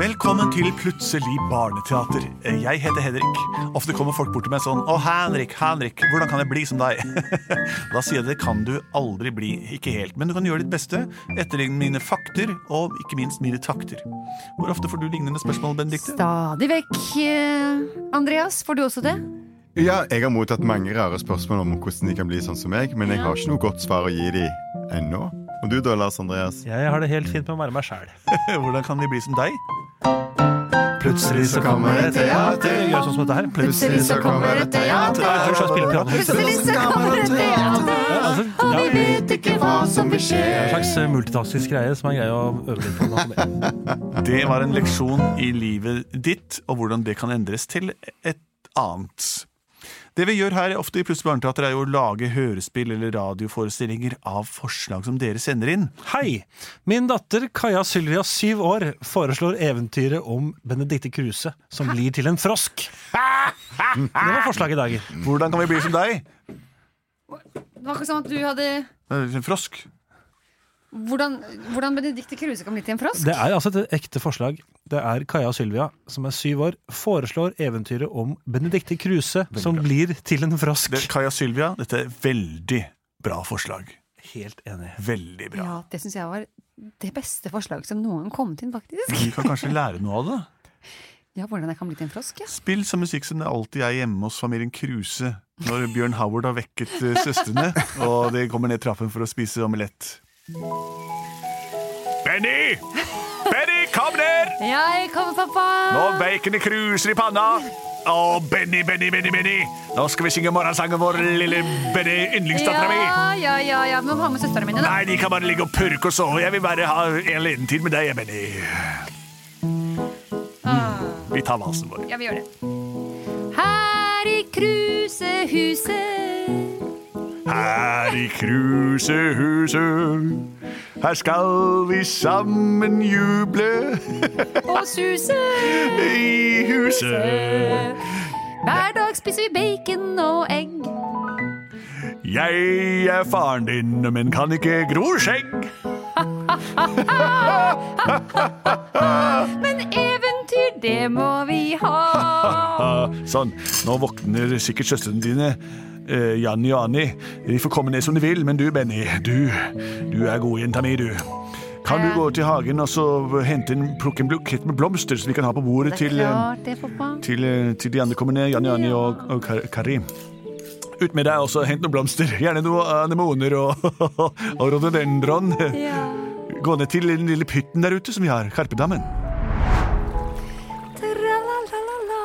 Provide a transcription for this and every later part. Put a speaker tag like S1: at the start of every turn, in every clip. S1: Velkommen til Plutselig barneteater. Jeg heter Henrik. Ofte kommer folk bort til meg sånn Å, Henrik, Henrik, hvordan kan jeg bli som deg? da sier jeg det kan du aldri bli. Ikke helt, men du kan gjøre ditt beste. Etterligne mine fakter, og ikke minst mine takter. Hvor ofte får du lignende spørsmål, Benedicte?
S2: Stadig vekk. eh, Andreas, får du også det?
S3: Ja, jeg har mottatt mange rare spørsmål om hvordan de kan bli sånn som meg, men jeg har ikke noe godt svar å gi dem ennå. Og du da, Lars Andreas?
S4: Jeg har det helt fint med å være meg sjæl.
S1: Hvordan kan vi bli som deg?
S3: Plutselig så kommer det teater.
S4: Gjør sånn som dette her.
S3: Plutselig så kommer det teater.
S4: Jeg tror jeg spiller piano.
S2: Plutselig så kommer det
S4: Ja,
S2: teater,
S4: altså,
S2: og vi
S4: ja, det
S2: vet ikke hva som vil skje.
S4: er En slags eh, multitastisk greie som er grei å øve litt på. når man-
S1: Det var en leksjon i livet ditt, og hvordan det kan endres til et annet. Det vi gjør her ofte i Plutselig barneteater, er jo å lage hørespill eller radioforestillinger av forslag som dere sender inn.
S4: Hei! Min datter Kaja Sylvia, syv år, foreslår eventyret om Benedicte Kruse som blir til en frosk. Det var forslaget i dag.
S1: Hvordan kan vi bli som deg?
S2: Det var ikke sånn at du hadde
S1: Eh, Frosk.
S2: Hvordan, hvordan Benedicte Kruse kan bli til en frosk?
S4: Det er altså et ekte forslag. Det er Kaja Sylvia, som er syv år, foreslår eventyret om Benedicte Kruse som blir til en frosk.
S1: Det er Kaja Sylvia, dette er veldig bra forslag.
S4: Helt enig.
S1: Veldig bra.
S2: Ja, det syns jeg var det beste forslaget som noen kom til, faktisk.
S1: Vi kan kanskje lære noe av det.
S2: Ja, hvordan jeg kan bli til en frosk, ja.
S1: Spill som musikk som det alltid er hjemme hos familien Kruse når Bjørn Howard har vekket eh, søstrene, og de kommer ned trappen for å spise omelett. Benny! Benny, kom ned!
S2: Jeg kommer, pappa!
S1: Og baconet kruser i panna. Å, Benny, Benny, Benny, Benny! Nå skal vi synge morgensangen vår, lille Benny, yndlingsdattera mi.
S2: Ja, ja, ja, ja. Vi må ha med søstrene mine, da.
S1: Nei, de kan bare ligge og purke og sove. Jeg vil bare ha en liten tid med deg, Benny. Vi tar valsen vår.
S2: Ja, vi gjør det. Her i Krusehuset
S1: Her i krusehuset, her skal vi sammen juble
S2: og suset
S1: i huset.
S2: Hver dag spiser vi bacon og egg.
S1: Jeg er faren din, men kan ikke gro skjegg.
S2: Men eventyr, det må vi ha.
S1: Ah, sånn, nå våkner sikkert søstrene dine. eh, Janni og Anni, de får komme ned som de vil, men du, Benny, du, du er godjenta mi, du. Kan du
S2: Ja.
S1: gå til hagen og så hente en, plukke en bukett med blomster som vi kan ha på bordet
S2: Det er
S1: til, eh,
S2: klart det, pappa.
S1: til, eh, til de andre kommer ned, Janni, Anni og, og Kar Kari. Ut med deg også, hent noen blomster, gjerne noen anemoner og, og rhododendron.
S2: Ja.
S1: Gå ned til den lille pytten der ute som vi har, Karpedammen.
S2: Tra-la-la-la-la.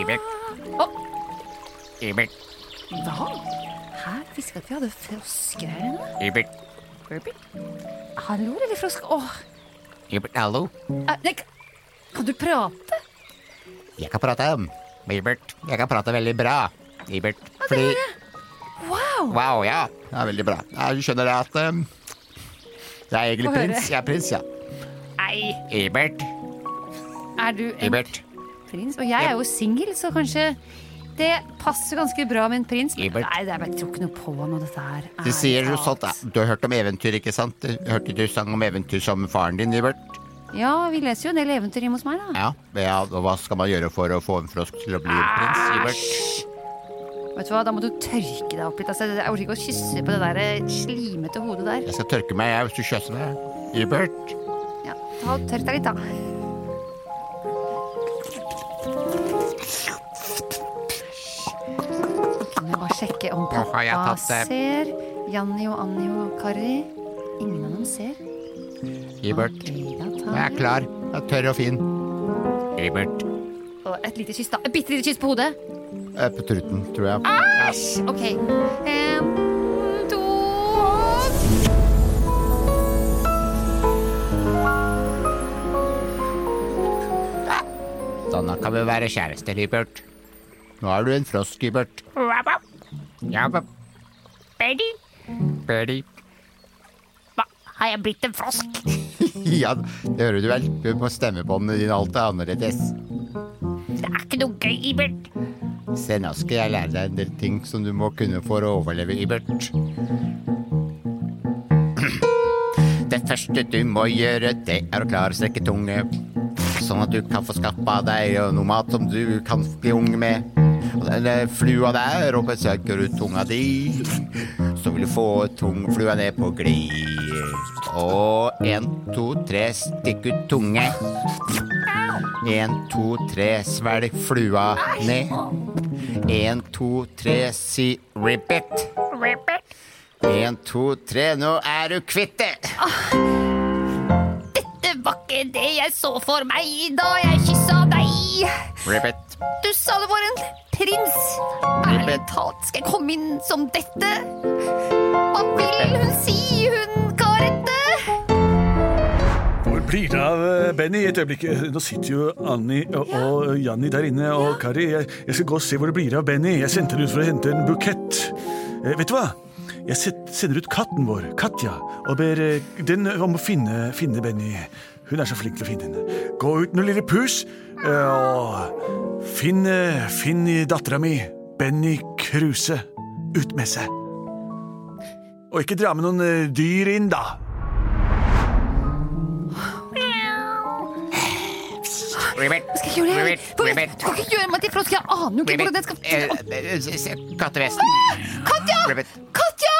S5: Ibert.
S2: Å,
S5: Ibert,
S2: hva? Hæ? Visste ikke at vi hadde frosker her inne.
S5: Ibert,
S2: Burpee. Hallo, lille frosk. Åh,
S5: Ibert, hallo.
S2: er- nei, kan du prate?
S5: Jeg kan prate om. Ibert, jeg kan prate veldig bra. Ibert, fordi
S2: Wow!
S5: Wow, ja. Det er veldig bra. Jeg skjønner det at um, Jeg er egentlig
S2: Få høre.
S5: prins. Jeg er prins, ja.
S2: Nei,
S5: Ibert,
S2: er du en
S5: Ibert,
S2: prins? Og jeg er jo singel, så kanskje det passer ganske bra med en prins. Men
S5: Ibert.
S2: Nei, det er, jeg tror ikke noe på noe dette her.
S5: du
S2: Ærlig
S5: sier jo
S2: talt.
S5: sånt, da. Du har hørt om eventyr, ikke sant? Du Hørte du sang om eventyr som faren din, Ibert?
S2: Ja, vi leser jo en del eventyr hjemme hos meg, da.
S5: Ja. Ah, ja. Og hva skal man gjøre for å få en frosk til å bli en prins, Ibert?
S2: Vet du hva, Da må du tørke deg opp litt. Altså, jeg orker ikke å kysse på det der eh, slimete hodet der.
S5: Jeg skal tørke meg, jeg, hvis du kysser meg. Ibert.
S2: Ja, ta og Tørk deg litt, da. Kan jeg bare sjekke om
S5: Nå har jeg
S2: pappa
S5: tatt eh, det.
S2: ser? Janni og Anni og Kari. Ingen av dem ser.
S5: Ibert.
S2: Ok, da tar
S5: Jeg er klar. Jeg er tørr og fin. Ibert.
S2: Og Et lite kyss, da. Et bitte lite kyss på hodet.
S5: Eh, På truten, tror jeg.
S2: Ah! Æsj! Ok. En, to og
S5: Sånn, da kan vi være kjærester, Libert. Nå er du en frosk, Libert. Ja, hva-
S6: Benny,
S5: Bernie.
S6: hva, har jeg blitt en frosk?
S5: Ja, det hører du vel. Du må stemme på om din alt er annerledes.
S6: Det er ikke noe gøy, Ibert.
S5: Se, nå skal jeg lære deg en del ting som du må kunne for å overleve, Libert. Det første du må gjøre, det er å klare å strekke tunge. sånn at du kan få skaffa deg eh, noe mat som du kan bli ung med. Og den eh, flua der og besøker ut tunga di, så vil du få tungflua ned på glid. Og én, to, tre, stikk ut tunge. Én, to, tre, svelg flua ned. Én, to, tre, si ribbit.
S6: Ribbit.
S5: Én, to, tre, nå er du kvitt det!
S6: Det var ikke det jeg så for meg da jeg kyssa deg.
S5: Ribbit.
S6: Du sa det var en prins. Ærlig talt, skal jeg komme inn som dette? Hva vil hun si, hun Karette?
S1: Hvor blir det av eh, Benny? Et øyeblikk. Eh, Nå sitter jo Annie og, og Janni der inne. Og Kari, jeg, jeg skal gå og se hvor det blir av Benny. Jeg sendte han ut for å hente en bukett. Eh, vet du hva? Jeg set- sender ut katten vår, Katja, og ber eh, den om å finne, finne Benny. Hun er så flink til å finne henne. Gå ut nå, lille pus, eh, og finn, eh, finn dattera mi, Benny Kruse. Ut med seg. Og ikke dra med noen eh, dyr inn, da.
S5: Ribbit.
S2: Skal jeg gjøre det?
S5: Ribbit.
S2: For, du
S5: Ribbit.
S2: kan ikke gjøre meg til frosk. Jeg aner jo ikke hvordan jeg skal
S5: Eh, eh, s- s- Kattevesten.
S2: Katja!
S5: Ribbit.
S2: Katja!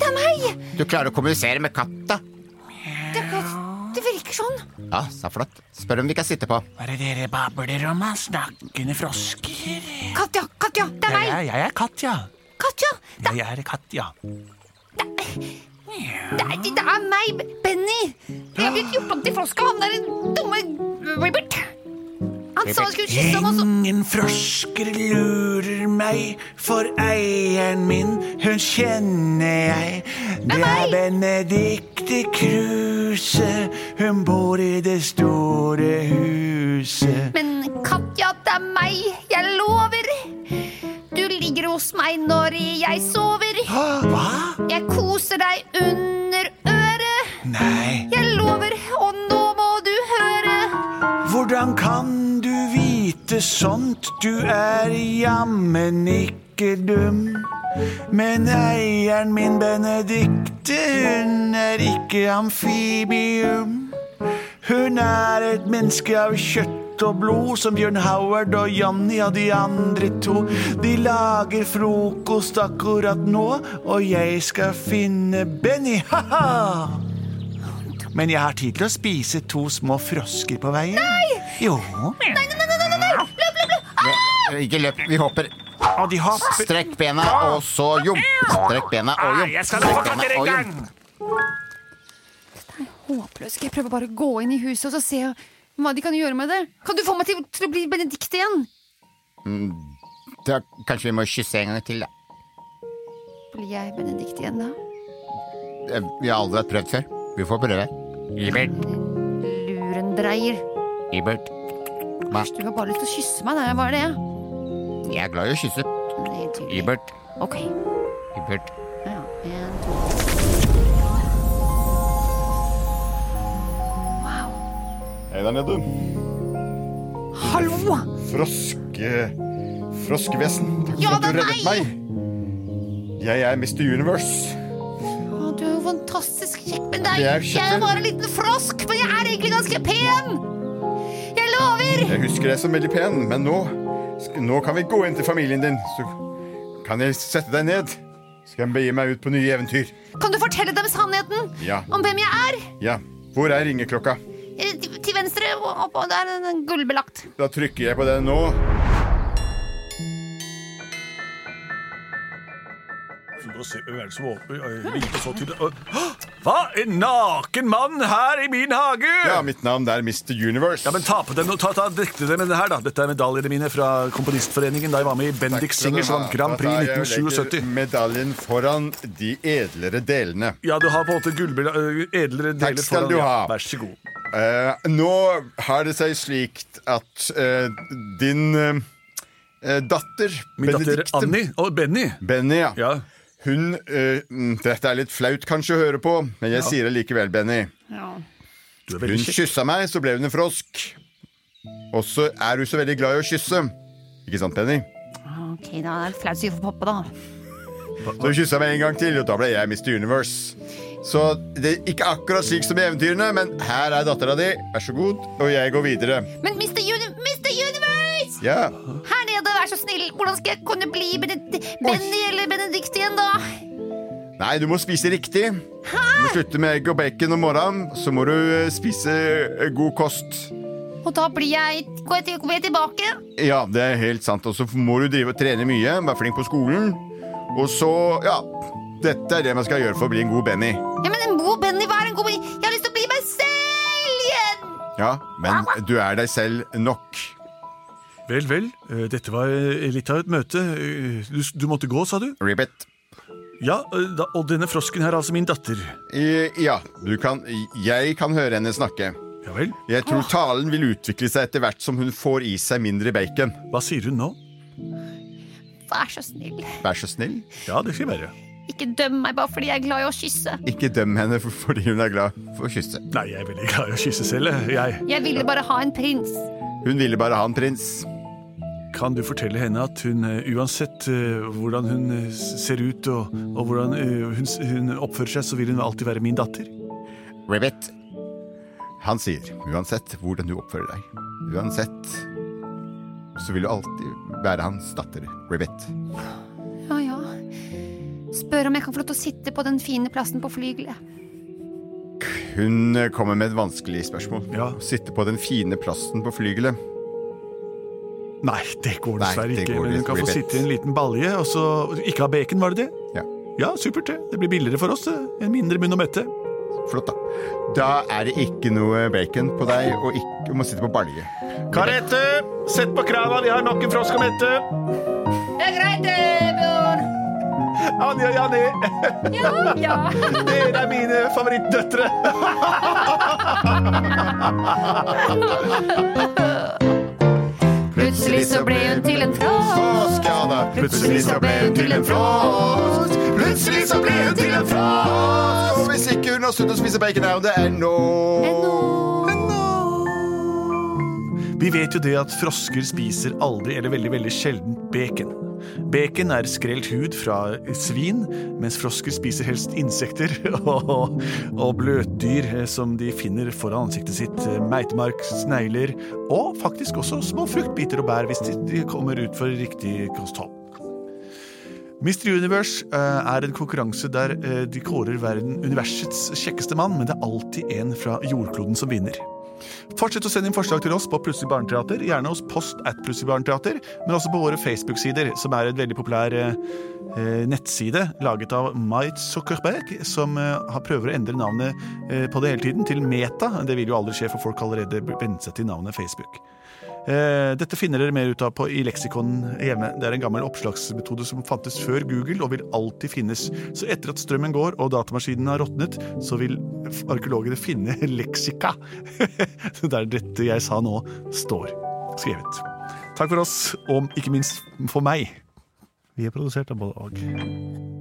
S2: Det er meg!
S5: Du klarer å kommunisere med katta.
S2: Det, er Kat- det virker sånn.
S5: Ja, så flott. Spør om vi kan sitte på.
S7: Hva er det dere babler om, da? Snakkende frosker?
S2: Katja, Katja, det er meg!
S7: Jeg, jeg er Katja.
S2: Katja! Det,
S7: Jeg er Katja.
S2: det, er, det er meg, Benny! Jeg har blitt gjort om til frosk av han der dumme Ribbert. Han sa han skulle kysse ham, og så
S7: Ingen frosker lurer meg, for eieren min, hun kjenner jeg. Det er
S2: meg!
S7: Benedicte Kruse, hun bor i det store huset.
S2: Men Katja, det er meg, jeg lover. Du ligger hos meg når jeg sover.
S7: Hva?
S2: Jeg koser deg under øret.
S7: Nei,
S2: Jeg lover, og nå må du høre.
S7: hvordan kan du vite sånt? Du er jammen ikke dum. Men eieren min, Benedicte, hun er ikke amfibium. Hun er et menneske av kjøtt og blod, som Bjørn Howard og Janni og de andre to. De lager frokost akkurat nå, og jeg skal finne Benny, ha-ha! Men jeg har tid til å spise to små frosker på veien. Nei! Jo.
S5: Eh, Ikke løp, vi hopper.
S7: Og de hopper
S5: Strekk bena, og så jump. Strekk bena og jump. Strekk bena og jump.
S2: Håpløs. Skal jeg prøve bare å gå inn i huset og så se hva de kan gjøre med det? Kan du få meg til, til å bli Benedicte igjen?
S5: Da, kanskje vi må kysse en gang til, da.
S2: Blir jeg Benedicte igjen da?
S5: Eh, Vi har aldri hatt prøvd før. Vi får prøve. Ibert.
S2: Lurendreier.
S5: Ibert.
S2: Du har bare lyst til å kysse meg, det er bare det.
S5: Jeg er glad i å kysse.
S2: Det er helt tydelig.
S5: Ibert.
S2: Ok.
S5: Ibert.
S2: Ja, en, to.
S3: Hei der nede.
S2: Hallo!
S3: Froske... Froskevesen. Takk for
S2: Ja,
S3: at du
S2: det er
S3: reddet
S2: meg!
S3: meg. Jeg er Mr. Universe.
S2: Å, du er jo fantastisk kjekk med deg.
S3: Det er
S2: jeg er
S3: kjempe-
S2: bare en liten frosk, men jeg er egentlig ganske pen. Jeg lover!
S3: Jeg husker deg som veldig pen, men nå, sk- nå kan vi gå inn til familien din. Så kan jeg sette deg ned. Skal jeg begi meg ut på nye eventyr.
S2: Kan du fortelle dem sannheten
S3: Ja.
S2: om hvem jeg er?
S3: Ja, hvor er ringeklokka?
S2: Eh, Til til venstre, og opp, og der er den gullbelagt.
S3: Da trykker jeg på den nå.
S1: For å se hvem er det som åpner ø, vinduet så til Ø, Hva? En naken mann her i min hage?
S3: Ja, mitt navn er Mr. Universe.
S1: Ja, men Ta på dem og ta, ta, dekte dem med det her, da. Dette er medaljene mine fra Komponistforeningen da jeg var med i
S3: Takk
S1: Bendik
S3: skal du
S1: Singers
S3: ha.
S1: vant Grand Prix
S3: Da
S1: i
S3: tar jeg og legger
S1: 1977.
S3: Medaljen foran de edlere delene.
S1: Ja, du har på en måte gullbil- ø, edlere deler
S3: Takk skal
S1: foran,
S3: du
S1: ja.
S3: ha.
S1: Vær så god.
S3: Eh, nå har det seg slikt at eh, din eh, datter
S1: Min datter
S3: Benedikte-
S1: Annie og Benny.
S3: Benny, ja.
S1: Ja.
S3: Hun eh, mm, Dette er litt flaut kanskje å høre på, men jeg sier det likevel, Benny.
S1: Du er
S3: Hun
S1: veldig kjekk.
S3: kyssa meg, så ble hun en frosk. Og så er hun så veldig glad i å kysse. Ikke sant, Benny?
S2: Ok, da er det flaut å si for pappa, da.
S3: Så hun kyssa meg en gang til, og da ble jeg Mr. Universe. Så det er ikke akkurat slik som i eventyrene, men her er dattera di. Vær så god. Og jeg går videre.
S6: Men Mr. Uni Mr. Universe!
S3: Ja.
S6: Her nede, vær så snill. Hvordan skal jeg kunne bli Bened Benny eller Benedikt igjen, da?
S3: Nei, du må spise riktig. Du må slutte med egg og bacon om morgenen. Så må du eh, spise eh, god kost.
S6: Og da blir jeg Går jeg til- kommer jeg tilbake?
S3: Ja, det er helt sant. Og så må du drive og trene mye. Være flink på skolen. Og så, ja Dette er det man skal gjøre for å bli en god Benny.
S6: Ja, men en god Benny, hva er en god Benny? Jeg har lyst til å bli meg selv igjen!
S3: Ja, men du er deg selv nok.
S1: Vel, vel. eh, Dette var eh, litt av et møte. Eh, Du, du måtte gå, sa du?
S3: Ribbit.
S1: Ja, eh, da, og denne frosken her er altså min datter.
S3: I- Ja, du kan Jeg kan høre henne snakke.
S1: Ja vel.
S3: Jeg tror talen vil utvikle seg etter hvert som hun får i seg mindre bacon.
S1: Hva sier hun nå?
S6: Vær så snill.
S3: Vær så snill,
S1: Ja, det skal jeg være.
S6: Ikke døm meg bare fordi jeg er glad i å kysse.
S3: ikke døm henne for- fordi hun er glad for å kysse.
S1: Nei, jeg er veldig glad i å kysse selv, eh, jeg.
S6: Jeg ville bare ha en prins.
S3: Hun ville bare ha en prins.
S1: Kan du fortelle henne at hun eh, uansett eh, hvordan hun eh, ser ut og, og hvordan eh, hun, s- hun oppfører seg, så vil hun alltid være min datter?
S3: Ribbit. Han sier uansett hvordan du oppfører deg, uansett så vil du alltid være hans datter, Ribbit.
S6: Ja, ja. Spør om jeg kan få lov til å sitte på den fine plassen på flygelet.
S3: Hun kommer med et vanskelig spørsmål.
S1: Ja.
S3: Sitte på den fine plassen på flygelet.
S1: Nei, det går
S3: Nei,
S1: dessverre
S3: det
S1: ikke.
S3: går
S1: Men hun kan få
S3: dessverre ikke.
S1: sitte i en liten balje, og så Ikke ha bacon, var det det?
S3: Ja.
S1: Ja, supert, det. Det blir billigere for oss. det. En mindre munn å mette.
S3: Flott, da. Da er det ikke noe bacon på deg, og ikke, du må sitte på balje.
S1: Karete, sett på krava, vi har nok en frosk å mette.
S6: Det er greit, det, Bjørn.
S1: Anja Janni,
S6: Ja, ja.
S1: dere er mine favorittdøtre.
S6: Plutselig så ble hun til en frosk.
S3: ja da.
S6: Plutselig så ble hun til en frosk.
S3: Plutselig så ble hun til en frosk. Hvis ikke hun har sluttet å spise bacon, er hun det ennå.
S1: Vi vet jo det at frosker spiser aldri eller veldig veldig sjelden bacon. Bacon er skrelt hud fra svin, mens frosker spiser helst insekter og, og bløtdyr eh, som de finner foran ansiktet sitt. eh, Meitemark, snegler og faktisk også små fruktbiter og bær hvis de- de kommer ut for riktig kosthold. Mr. Universe eh, er en konkurranse der eh, de kårer verden universets kjekkeste mann, men det er alltid en fra jordkloden som vinner. Fortsett å sende inn forslag til oss på Plutselig barneteater, gjerne hos post at Plutselig barneteater, men også på våre Facebook-sider, som er en veldig populær eh, eh, nettside laget av Mait Zuckerberg, som eh, har prøver å endre navnet eh, på det hele tiden, til Meta. Det vil jo aldri skje, for folk har allerede vent seg til navnet Facebook. Eh, Dette finner dere mer ut av på, i leksikon hjemme. Det er en gammel oppslagsmetode som fantes før Google og vil alltid finnes. Så etter at strømmen går og datamaskinen har råtnet, så vil f- arkeologene finne leksika. Så Det er dette jeg sa nå, står skrevet. Takk for oss, og ikke minst for meg.
S4: Vi er produsert av både og.